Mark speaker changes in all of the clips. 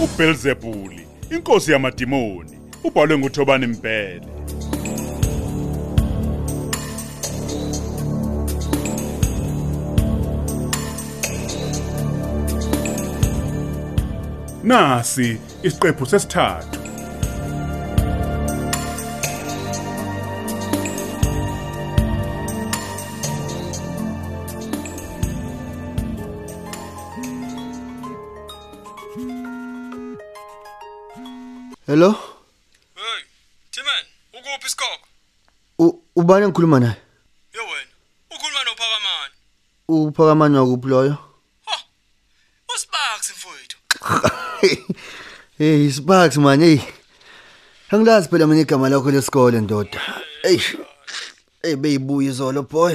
Speaker 1: uBelzebuli, inkosi yamadimoni, ubhalwe nguThobani Mphele. Nasi isiqephu sesithathu.
Speaker 2: Hello?
Speaker 3: Hey, Timan, ukuphi isikhokho?
Speaker 2: U- Ubani engikhuluma naye?
Speaker 3: Yo wena, ukhuluma nophakamani.
Speaker 2: Uphakamani wakuphi loyo?
Speaker 3: Ha. Usibaks mfowethu.
Speaker 2: Hey, Sparks man, hey. Angilazi phela mina igama lakho lesikole ndoda. Hey. Hey beyibuya izolo boy.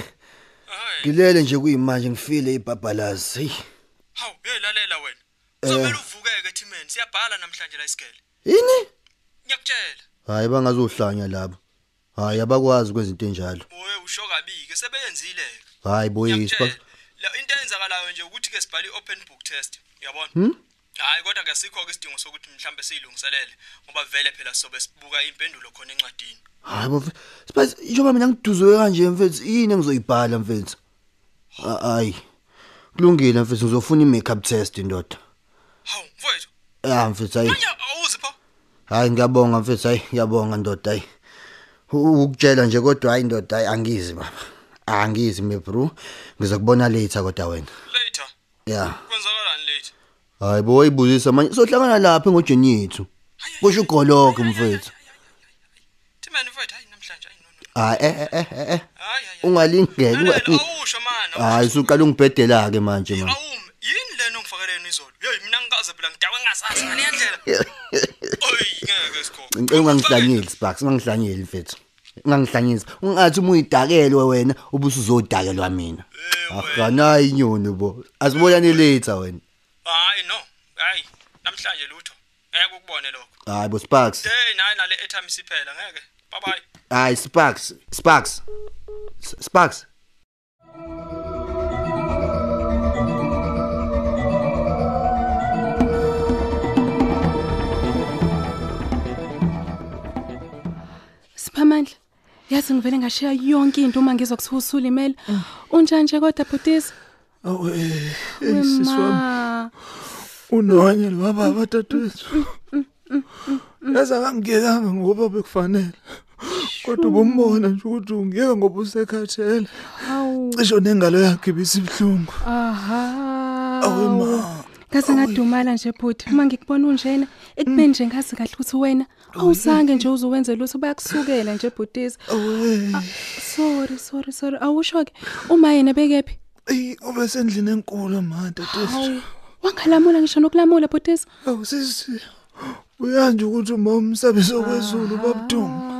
Speaker 3: Hayi.
Speaker 2: Ngilele nje kuyimanje ngifile ibhabhalazi. Hey. Eh.
Speaker 3: Hawu, uyalalela wena. Uzomela uvukeke Timan, siyabhala namhlanje la isigele.
Speaker 2: Yini?
Speaker 3: Ngiyakutshela.
Speaker 2: Hayi bangazohlanya labo. Hayi abakwazi ukwenza into enjalo.
Speaker 3: Owe usho kabike, sebeyenzile.
Speaker 2: Hayi boy, Sparks.
Speaker 3: La into eyenzakalayo nje ukuthi ke sibhale open book test, uyabona?
Speaker 2: hmm?
Speaker 3: Hm? Hayi kodwa kasikho ke isidingo sokuthi mhlambe silungiselele ngoba vele phela sobe sibuka impendulo khona encwadini.
Speaker 2: Hayi bo. Sparks, njoba mina ngiduzwe kanje mfethu, yini engizoyibhala mfethu? Ha- Hayi. Kulungile mfethu, ngizofuna i-makeup test ndoda.
Speaker 3: Hawu, mfowethu.
Speaker 2: Ah mfethu hayi.
Speaker 3: Manje awuzipho.
Speaker 2: Hayi ngiyabonga mfethu hayi ngiyabonga ndoda hayi. U- Ukutshela nje kodwa hayi ndoda hayi angizi baba. Angizi me bro. Ngizokubona later kodwa wena.
Speaker 3: Later.
Speaker 2: Yeah.
Speaker 3: Kwenzakalani later?
Speaker 2: Hayi bo wayibuzisa manje sohlangana lapha ngojeni yethu. Kusho ugologo mfethu.
Speaker 3: Timani mfowethu hayi namhlanje hayi nono.
Speaker 2: Hayi eh eh, eh eh eh.
Speaker 3: Hayi hayi.
Speaker 2: Ungalingeki. unga-
Speaker 3: Awusho mana.
Speaker 2: Hayi suqala ungibhedela ke manje manje.
Speaker 3: Awumi, yini lena ongifakeleni izolo? Hey mina ngikaze phela ngidakwe ngasazi ngale ndlela. Oy, ngeke sikhokho.
Speaker 2: Ngicela ungangihlanyeli Sparks, ungangihlanyeli mfethu. Ungangihlanyisi. Ungathi uma uyidakelwe wena ubusuzodakelwa mina.
Speaker 3: Eh,
Speaker 2: Akana inyoni bo. Asibonane later wena.
Speaker 3: Hayi no. Hayi, namhlanje lutho. Ngeke ukubone lokho.
Speaker 2: Hayi bo Sparks.
Speaker 3: Hey, nayi nale airtime siphela ngeke. Bye bye.
Speaker 2: Hayi Sparks, Sparks. S- Sparks.
Speaker 4: Siphamandla. Yazi ngivele ngashiya yonke into uma ngizwa kuthiwa usulimele. Unjanje kodwa bhutisi?
Speaker 5: Awu eh
Speaker 4: Siswami.
Speaker 5: unonya lo baba tatwethu. Yaza kangikelanga ngoba bekufanele. Kodwa ubumbona nje ukuthi ungeke ngoba usekhathele.
Speaker 4: Hawu.
Speaker 5: Cisho nengalo yakhe ibisibhlungu.
Speaker 4: Aha.
Speaker 5: Awu ma.
Speaker 4: Kaze ngadumala nje bhuti uma ngikubona unjena ekubeni nje ngazi kahle ukuthi wena awusange nje uzowenza lutho bayakusukela nje bhutisi.
Speaker 5: Awu.
Speaker 4: Sorry sorry sorry awusho ke uma yena bekephi?
Speaker 5: Ey, ube sendlini enkulu manje tatwethu.
Speaker 4: Hawu. Wangalamula ngisho nokulamula bhutisi.
Speaker 5: Awu sisi. Uyanje ukuthi uma umsabiso kwezulu babuduma.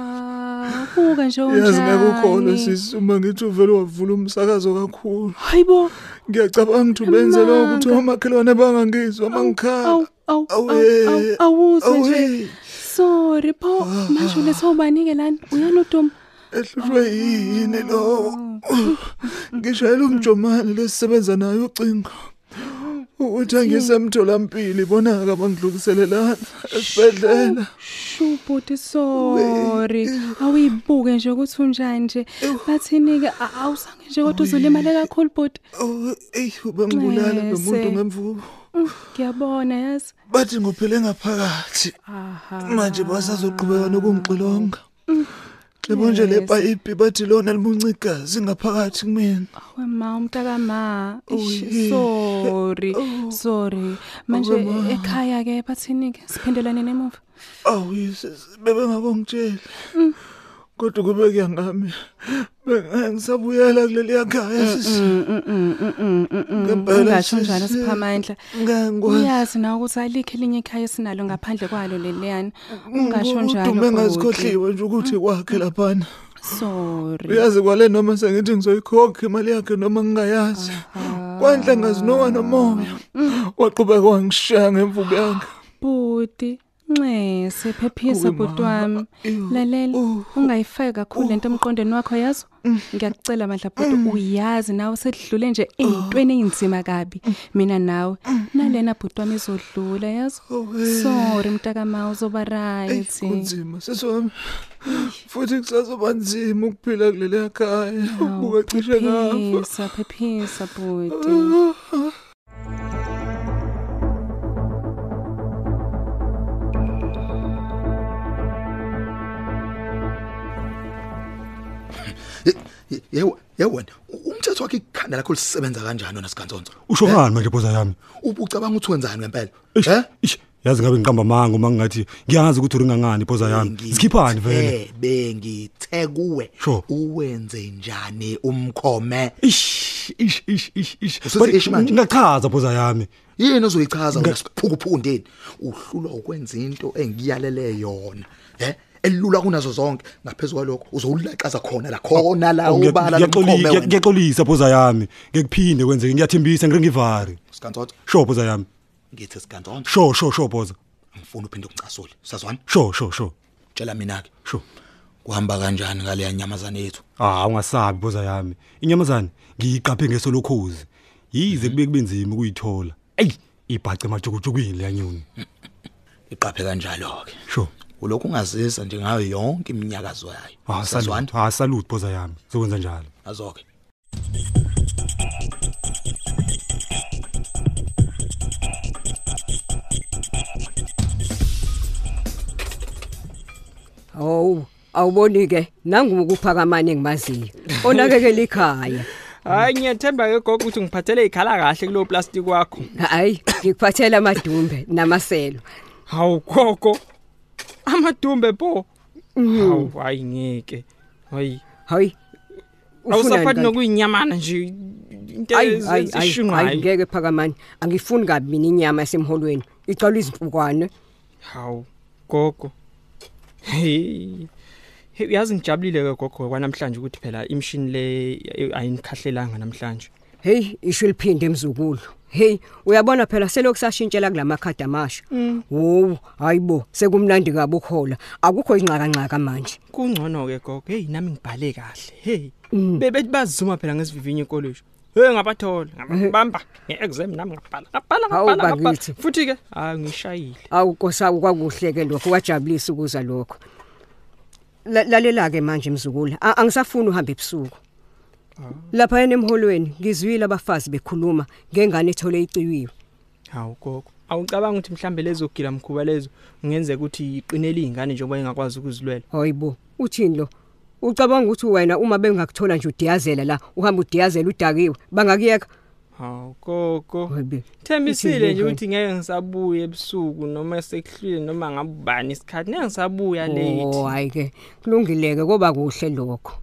Speaker 4: Ah, Buka nje unjani.
Speaker 5: Yazi ngakukholwa sisi uma ngithi uvele wavula umsakazo kakhulu.
Speaker 4: Hayibo.
Speaker 5: Ngiyacabanga ukuthi benze lokho ukuthi
Speaker 4: Amanga.
Speaker 5: omakhelwane bangangizwa mangikhala.
Speaker 4: Aw aw aw
Speaker 5: Awe.
Speaker 4: aw awuze
Speaker 5: Awe.
Speaker 4: nje. Sorry bo
Speaker 5: Ah,
Speaker 4: manje lesobanike lana uyanoduma.
Speaker 5: Ehlulwe yini lo? Ngishayela umjomani lesisebenza naye ucingo. Ukuthi angisemtholampili bonaka bangidluliselelana esibedlela.
Speaker 4: Shubhuti sorry. Awuyibuke nje ukuthi unjani nje. Bathini ke a- awusange nje kodwa uzolimala kakhulu bhuti.
Speaker 5: Oh, ey ubambulala
Speaker 4: Nxese.
Speaker 5: nomuntu ngemvubu.
Speaker 4: Mm, Ngiyabona yazi.
Speaker 5: Bathi ngophele ngaphakathi.
Speaker 4: Aha.
Speaker 5: manje basazoqhubeka nokungixilonga Yebo nje le payipi bathi lona limuncikazi ngaphakathi kumina.
Speaker 4: Wema umntaka ma.
Speaker 5: Uyi.
Speaker 4: Ish, Sorry. Sorry. Manje ekhaya ke bathini ke siphendelane nemuva.
Speaker 5: Awu yisisi, bebengakongitshela. Kodwa kube kuyangami. Bengisabuyela kuleli yakhaya sisi. Ngempela
Speaker 4: Ngasho njalo
Speaker 5: sisi.
Speaker 4: siphamandla.
Speaker 5: Ngangwa.
Speaker 4: Uyazi na ukuthi alikho elinye ikhaya esinalo ngaphandle kwalo leliyana. Ungasho njalo.
Speaker 5: Udume
Speaker 4: bhuti.
Speaker 5: ngazikhohliwe nje ukuthi kwakhe laphana.
Speaker 4: Sorry.
Speaker 5: Uyazi kwale noma sengithi ngizoyikhokha imali yakhe noma ngingayazi. Kwanhle
Speaker 4: Mm.
Speaker 5: ngazinowa nomoya. Waqhubeka wangishiya ngemvubu yakhe.
Speaker 4: Bhuti. Nxese phephisa bhuti wami. Lalela ungayifaki kakhulu lento emqondweni wakho yazo.
Speaker 5: Mm.
Speaker 4: Ngiyacela mandla bhuti uyazi nawe sedlule nje
Speaker 5: Oh.
Speaker 4: ezintweni ezinzima kabi
Speaker 5: Mm.
Speaker 4: mina nawe. Nalena bhuti wami izodlula yazo. Sorry mtaka ma uzoba right.
Speaker 5: Oh, eh. kunzima sesiwami futhi kusazoba nzima ukuphila kuleli khaya ubuka cishe ngafa
Speaker 4: Phephisa phephisa bhuti.
Speaker 6: yebo yebo wena u- umthetho wakhe ikhanda lakho lisebenza kanjani wena siganzonzo
Speaker 7: usho ngani manje boza yami
Speaker 6: ubucabanga ukuthi wenzani ngempela
Speaker 7: Eish, eish, yazi ngabe ngiqamba amanga uma ngingathi ngiyazi ukuthi uringangani boza yami sikhiphani
Speaker 6: Eh,
Speaker 7: vele
Speaker 6: bengithe kuwe
Speaker 7: Sho.
Speaker 6: uwenze njani umkhome
Speaker 7: ish ish ish ish ish
Speaker 6: Usuthi
Speaker 7: But
Speaker 6: ish manje?
Speaker 7: ngachaza boza yami
Speaker 6: yini ozoyichaza
Speaker 7: Nga-
Speaker 6: wena siphukuphuku uhlulwa ukwenza into engiyalele yona he elula kunazo zonke ngaphezulu kwalokho uzowulaxaza khona la khona la
Speaker 7: Oh,
Speaker 6: ubala lomkhome
Speaker 7: ngiyaxolisa
Speaker 6: wena
Speaker 7: ngiyaxolisa boza yami ngekuphinde kwenzeke ngiyathembisa ngire ngivari
Speaker 6: siganzonzo
Speaker 7: sho boza yami
Speaker 6: ngithi siganzonzo
Speaker 7: sho sho sho boza
Speaker 6: angifuni uphinde ungicasule sazwana
Speaker 7: sho sho sho
Speaker 6: tshela mina ke
Speaker 7: sho
Speaker 6: kuhamba kanjani ngale nyamazana yethu
Speaker 7: Ah ungasabi boza yami. Inyamazane ngiyiqaphe ngesolokhozi. Yize kube kubenzima ukuyithola. Ey, ibhaca emajukujukwini lanyoni.
Speaker 6: iqaphe kanjalo ke
Speaker 7: Sho.
Speaker 6: ulokhu ungazisa nje ngayo yonke iminyakazo yayo
Speaker 7: Ah
Speaker 6: Sazwana?
Speaker 7: salute. Ah salute boza yami. Zokwenza njalo.
Speaker 6: azoke
Speaker 8: Hawu, awuboni ke nangu ukuphakamani engimaziyo. Onakekela ikhaya.
Speaker 3: hayi ngiyathemba ke gogo ukuthi ngiphathele ikhala kahle kulo plastic wakho
Speaker 8: Hayi, ngikuphathela amadumbe namaselo.
Speaker 3: hawu gogo amadumbe po hawu hayi ngeke hayi
Speaker 8: Mm. Hayi.
Speaker 3: awusaphathi nokuyinyamana nje into
Speaker 8: Hayi
Speaker 3: ezishunqayo
Speaker 8: ngeke phakamani. Angifuni kabi mina inyama esemholweni. Icala izimpukwane.
Speaker 3: hawu gogo hey Hey, uyazi ngijabulile ke gogo kwanamhlanje ukuthi phela imshini le eh, ayinikhahlelanga namhlanje
Speaker 8: Hey, isho liphinde emzukulu. Hey, uyabona phela selokusashintshela kulamakhadi amasha.
Speaker 3: Mm.
Speaker 8: Wo, hayibo, sekumnandi kabi ukhola. Akukho inqaka nqaka manje.
Speaker 3: kungcono ke gogo hey nami ngibhale kahle hey
Speaker 8: Mm.
Speaker 3: bebethi bazuma phela ngesivivinyo ekolishi hey ngabathola ngabamba ngeexam nami ngabhala ngabhala
Speaker 8: Mm-hmm. Hawu,
Speaker 3: ngabhala ngabhala
Speaker 8: bakithi.
Speaker 3: futhi ke hayi ngishayile
Speaker 8: awukosa ukwakuhle ke lokho kwajabulisa ukuza lokho La- lalela ke manje mzukula a- angisafuni uhambe ebusuku
Speaker 3: Ah.
Speaker 8: lapha enemholweni ngizwile abafazi bekhuluma ngengane ethole iciwiwe
Speaker 3: hawu gogo awucabanga ukuthi mhlambe lezo gila mkhuba lezo ngenzeka ukuthi iqinele izingane njengoba ingakwazi ukuzilwela
Speaker 8: hayibo uthini lo ucabanga ukuthi wena uma bengakuthola nje udiyazela la uhamba udiyazela udakiwe bangakuyeka
Speaker 3: hawu gogo
Speaker 8: Hayibe,
Speaker 3: thembisile
Speaker 8: ithi
Speaker 3: nje
Speaker 8: yini
Speaker 3: ukuthi ngeke ngisabuye ebusuku noma sekuhlwile noma ngabubani isikhathi ngeke ngisabuya
Speaker 8: oh
Speaker 3: late
Speaker 8: hayi ke kulungileke kuba kuhle lokho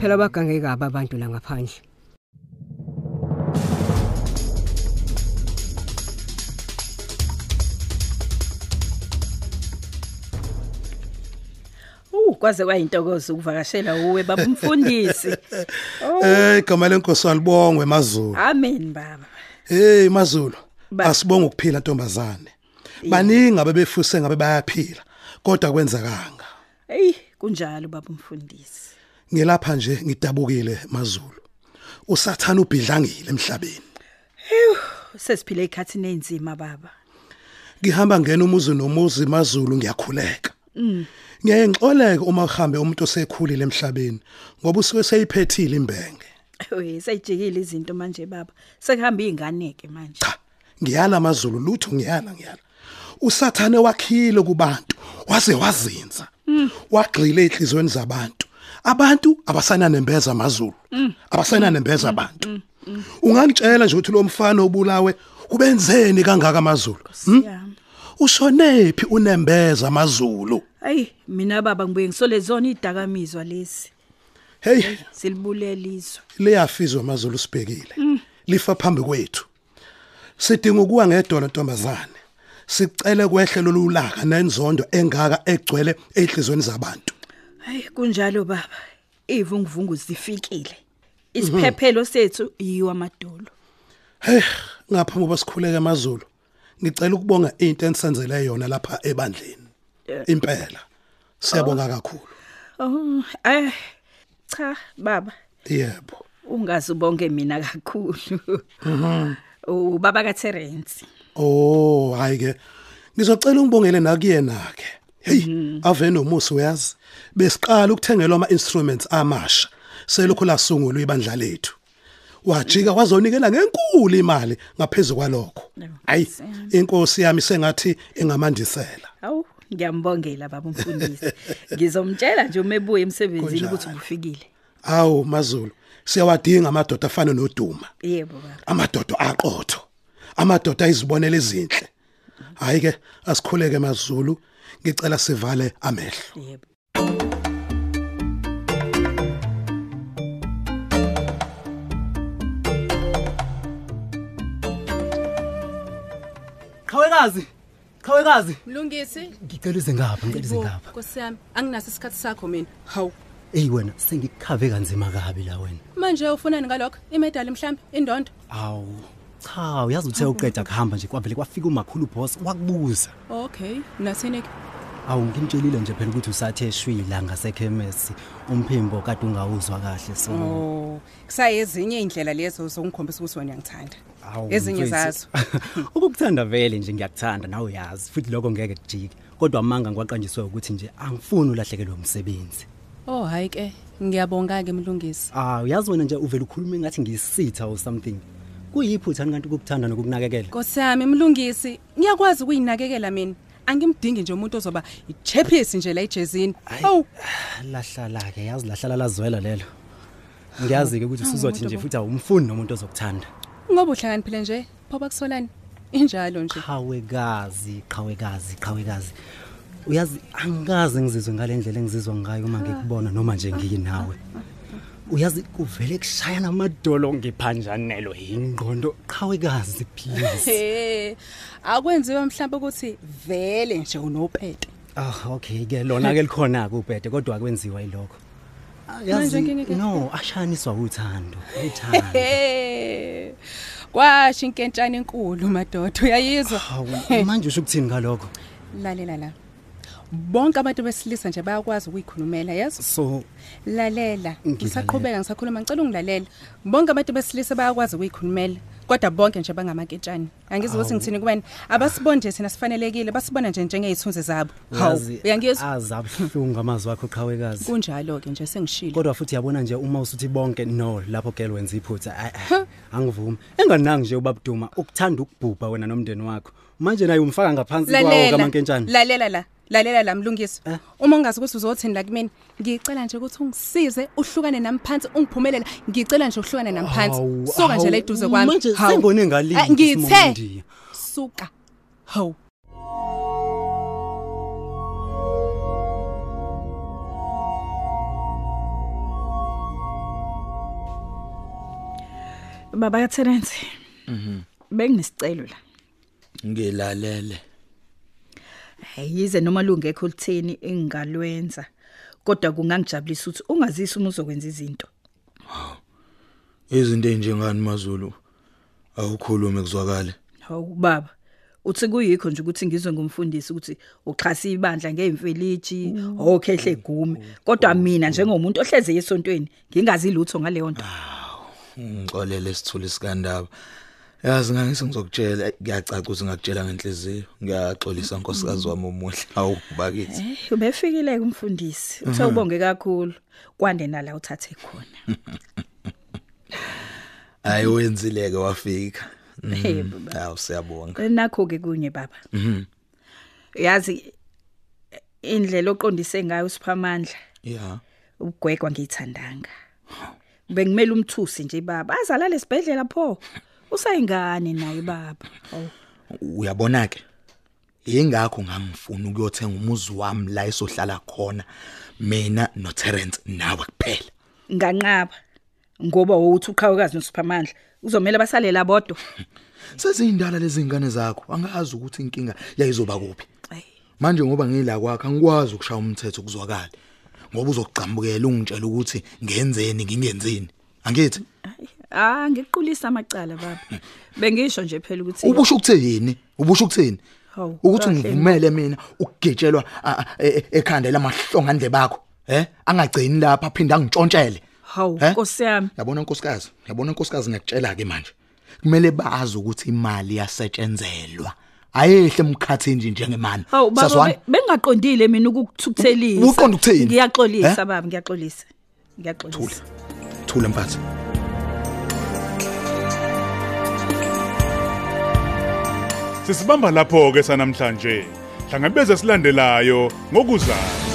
Speaker 8: phela bagangeke abantu la ngaphandle
Speaker 9: Uh kwaze kwayintokozo ukuvakashela uwe baba umfundisi.
Speaker 10: Eh igama lenkosi alibongwe mazulu.
Speaker 9: Amen baba.
Speaker 10: Hey mazulu
Speaker 9: Ba-
Speaker 10: asibonge ukuphila ntombazane. Baningi abebefuse ngabe bayaphila kodwa kwenzakanga.
Speaker 9: Ey kunjalo baba umfundisi.
Speaker 10: Ngilapha nje ngidabukile mazulu. Usathana ubhidlangile emhlabeni.
Speaker 9: Sesiphile ikhathini enzima baba.
Speaker 10: Ngihamba ngena umuzi nomuzi mazulu ngiyakhuleka.
Speaker 9: Mm.
Speaker 10: Ngiyengxoleka uma uhambe umuntu osekhulile emhlabeni ngoba usuke seyiphethile imbenge.
Speaker 9: We sayijikile izinto manje baba. Sekuhamba izingane ke manje.
Speaker 10: cha ngiyala mazulu lutho ngiyala ngiyala usathane wakhile kubantu waze wazinza wagxile enhlizweni zabantu abantu abasana nembeza mazulu abasana nembeza abantu ungangitshela nje ukuthi lo mfana obulawe ubenzeni kangaka mazulu hm?
Speaker 9: Siyami.
Speaker 10: ushonephi unembeza mazulu
Speaker 9: Ay mina baba ngibuye ngisole zona idakamizwa lezi.
Speaker 10: hey
Speaker 9: Silibulelizwe.
Speaker 10: leyafizwa mazulu sibhekile
Speaker 9: Mm.
Speaker 10: lifa phambi kwethu sidinga ukuwa ngedolo ntombazane sicela kwehle lolulaka nenzondo engaka egcwele enhlizweni zabantu
Speaker 9: Ay kunjalo baba. Ivunguvungu zifikile. Isiphephelo sethu yiwa madolo.
Speaker 10: hey ngaphambi koba sikhuleke amazulu ngicela ukubonga into enisenzele yona lapha ebandleni impela siyabonga kakhulu
Speaker 9: Oh, eh cha baba,
Speaker 10: yebo
Speaker 9: ungazubonge mina kakhulu.
Speaker 10: Mhm.
Speaker 9: Ubaba kaTerence.
Speaker 10: oh hayi ke ngizocela ungibongele nakuyena ke hey ave nomusi uyazi besiqala ukuthengelwa ama instruments amasha selokho lasungulwa ibandla lethu wajika wazonikela ngenkulu imali ngaphezulu kwalokho hayi inkosi yami sengathi engamandisela
Speaker 9: Awu, ngiyambongela baba umfundisi. Ngizomtshela nje uma ebuya emsebenzini
Speaker 10: Kunjani.
Speaker 9: ukuthi ubufikile.
Speaker 10: awu mazulu siyawadinga amadoda afana noduma
Speaker 9: Yebo baba.
Speaker 10: amadoda aqotho amadoda ayizibonela ezinhle hayi ke asikhuleke mazulu ngicela sivale amehlo
Speaker 11: Qhawekazi. Qhawekazi.
Speaker 4: Mlungisi,
Speaker 11: Ngicela uze ngapha, ngicela uze ngapha.
Speaker 4: Nkosi yami, anginaso isikhathi sakho mina. Hawu.
Speaker 11: Ey wena, sengikukhave kanzima kabi la wena.
Speaker 4: Manje ufunani ngalokho? Imedali mhlambi, indondo.
Speaker 11: Awu. Cha, uyazi uthe uqeda kuhamba nje kwavele kwafika umakhulu boss wakubuza.
Speaker 4: Okay, nasene ke.
Speaker 11: Awu ngimtshelile nje phela ukuthi usathe shwila ngasekhemesi. Umphimbo kade ungawuzwa kahle so.
Speaker 12: Oh, kusayezinye indlela lezo zongikhombisa ukuthi wena uyangithanda.
Speaker 11: Awu,
Speaker 12: Ezinye
Speaker 11: mfethu.
Speaker 12: zazo.
Speaker 11: Ukukuthanda vele nje ngiyakuthanda nawe uyazi futhi lokho ngeke kujike. Kodwa manga ngiwaqanjiswe ukuthi nje angifuni ulahlekelwe umsebenzi.
Speaker 4: Oh hayi ke, ngiyabonga ke mlungisi.
Speaker 11: Ah, uyazi wena nje uvela ukhuluma engathi ngisitha or something. Kuyiphutha ngani ukukuthanda nokukunakekela?
Speaker 4: Nkosi yami, mlungisi, ngiyakwazi ukuyinakekela mina. Angimdingi nje umuntu ozoba ichepisi nje la ejezini. Awu,
Speaker 11: lahlala ke yazi lahlala lazwela lelo ngiyazi ke ukuthi
Speaker 4: Hawu,
Speaker 11: usuzothi nje
Speaker 4: umuntu
Speaker 11: futhi awumfuni nomuntu ozokuthanda
Speaker 4: ngoba uhlakaniphile nje, phoba kusolani. Injalo nje.
Speaker 11: qhawekazi qhawekazi qhawekazi uyazi angikaze ngizizwe ngale ndlela engizizwa ngayo uma ngikubona noma nje nginawe uyazi kuvele kushaya namadolo ngiphanjanelo yingqondo qhawekazi please
Speaker 4: He. Akwenziwe mhlawumbe ukuthi vele nje unopete.
Speaker 11: ah okay ke lona ke likhona kubhede kodwa akwenziwa yilokho Ah,
Speaker 4: Ah, Manje inkinga ikephi?
Speaker 11: no ashaniswa uthando uthando
Speaker 4: Ehe. Kwashi inkentshana enkulu madododa uyayizwa
Speaker 11: Hawu, manje usho ukuthini ngalokho
Speaker 4: lalela la bonke abantu besilisa nje bayakwazi ukuyikhulumela yeso
Speaker 11: so
Speaker 4: lalela
Speaker 11: Ngilalela.
Speaker 4: ngisaqhubeka ngisakhuluma ngicela ungilalela bonke abantu besilisa bayakwazi ukuyikhulumela kodwa bonke nje bangamaketshane angizi ukuthi
Speaker 11: Hawu.
Speaker 4: ngithini kubani abasibonje thina sifanelekile basibona nje njengeyithunzi zabo hawu
Speaker 11: Uyazi,
Speaker 4: uyangizwa
Speaker 11: azabuhlungu amazwi akho qhawekazi
Speaker 4: kunjalo ke nje sengishilo
Speaker 11: kodwa futhi yabona nje uma usuthi bonke no lapho gele wenza iphutha ayi, ayi, angivumi enganaki nje ubabuduma ukuthanda ukubhubha wena nomndeni wakho manje naye umfaka ngaphansi kwawo Eh?
Speaker 4: lalela
Speaker 11: kamankentshana
Speaker 4: lalela la lalela la mlungisi uma ungazi ukuthi uzothini la kumina ngicela nje ukuthi ungisize uhlukane nami phansi ungiphumelela ngicela nje uhlukane nami
Speaker 11: Hawu,
Speaker 4: phansi soka nje
Speaker 11: hawu,
Speaker 4: la eduze kwami
Speaker 11: manje
Speaker 4: Hawu.
Speaker 11: sengibone ngalinye
Speaker 4: Ah,
Speaker 11: ukuthi
Speaker 4: ngithe
Speaker 11: Simondi.
Speaker 4: suka hawu
Speaker 9: Baba kaTerence,
Speaker 6: Mm-hmm.
Speaker 13: Mhm.
Speaker 9: benginesicelo la.
Speaker 13: Ngilalele.
Speaker 9: Hayize noma lungekho lutheni engalwenza. Kodwa kungangijabulisa ukuthi ungazisi uma uzokwenza izinto.
Speaker 13: Izinto enjengani mazulu? Awukhulume kuzwakale.
Speaker 9: Hawu baba. Uthi kuyikho nje ukuthi ngizwe ngumfundisi ukuthi uxhasa ibandla ngeemfeliji, okhehle gume. Kodwa mina njengomuntu ohleze esontweni, ngingazi lutho ngale nto.
Speaker 13: Ngixolele sithule sikandaba. Yazi ngangise ngizokutshela eh, ngiyacaca ukuthi ngakutshela ngenhliziyo. Ngiyaxolisa nkosikazi wami omuhle. Awu bakithi.
Speaker 9: Eh, ubefikile kumfundisi. Uthe
Speaker 13: Mhm.
Speaker 9: ubonge kakhulu. Kwande nala uthathe khona.
Speaker 13: Ayiwenzileke wafika. Mhm.
Speaker 9: Yebo, baba.
Speaker 13: Hawu siyabonga.
Speaker 9: Nakho ke kunye baba.
Speaker 13: Mhm.
Speaker 9: Yazi indlela oqondise ngayo usiphamandla
Speaker 13: Yeah.
Speaker 9: ugwegwa ngiyithandanga. Bengimela umthusi nje baba. Azalala esibhedlela pho. Usayingane naye baba. Hawu.
Speaker 13: uyabona ke yingakho ngangifuna ukuyothenga umuzi wami la esohlala khona mina no Terence nawe kuphela
Speaker 9: Nganqaba. Ngoba wowuthi uqhawekazi nosiphamandla. Uzomela basale la bodwa.
Speaker 13: sezindala lezi ngane zakho angazi ukuthi inkinga yayizoba kuphi manje ngoba ngila kwakhe angikwazi ukushaya umthetho kuzwakale ngoba uzokugcambukela ungitshela ukuthi ngenzeni ngingenzeni angithi
Speaker 9: ah ngiqulisa amacala baba bengisho nje phela ukuthi
Speaker 6: ubusho ukuthini ubusho ukuthini
Speaker 9: Hawu,
Speaker 6: ukuthi
Speaker 9: kahle.
Speaker 6: ngivumele mina ukugetshelwa a- a- e- e- ekhanda lamahlonga ndle bakho eh angagcini lapha aphinde angitshontshele
Speaker 9: hawu nkosi yami
Speaker 6: yabona nkosikazi yabona nkosikazi ngiyakutshela ke manje kumele bazi ukuthi imali yasetshenzelwa ayehle emkhathini njengemali
Speaker 9: hawu baba be- bengaqondile mina ukukuthukuthelisa
Speaker 6: Uqonda ukuthini?
Speaker 9: ngiyaxolisa
Speaker 6: Eh?
Speaker 9: baba ngiyaxolisa ngiyaxolisa
Speaker 6: thula mphathi
Speaker 1: Sisibamba lapho ke sanamhlanje. Hlangabeze silandelayo ngokuzayo.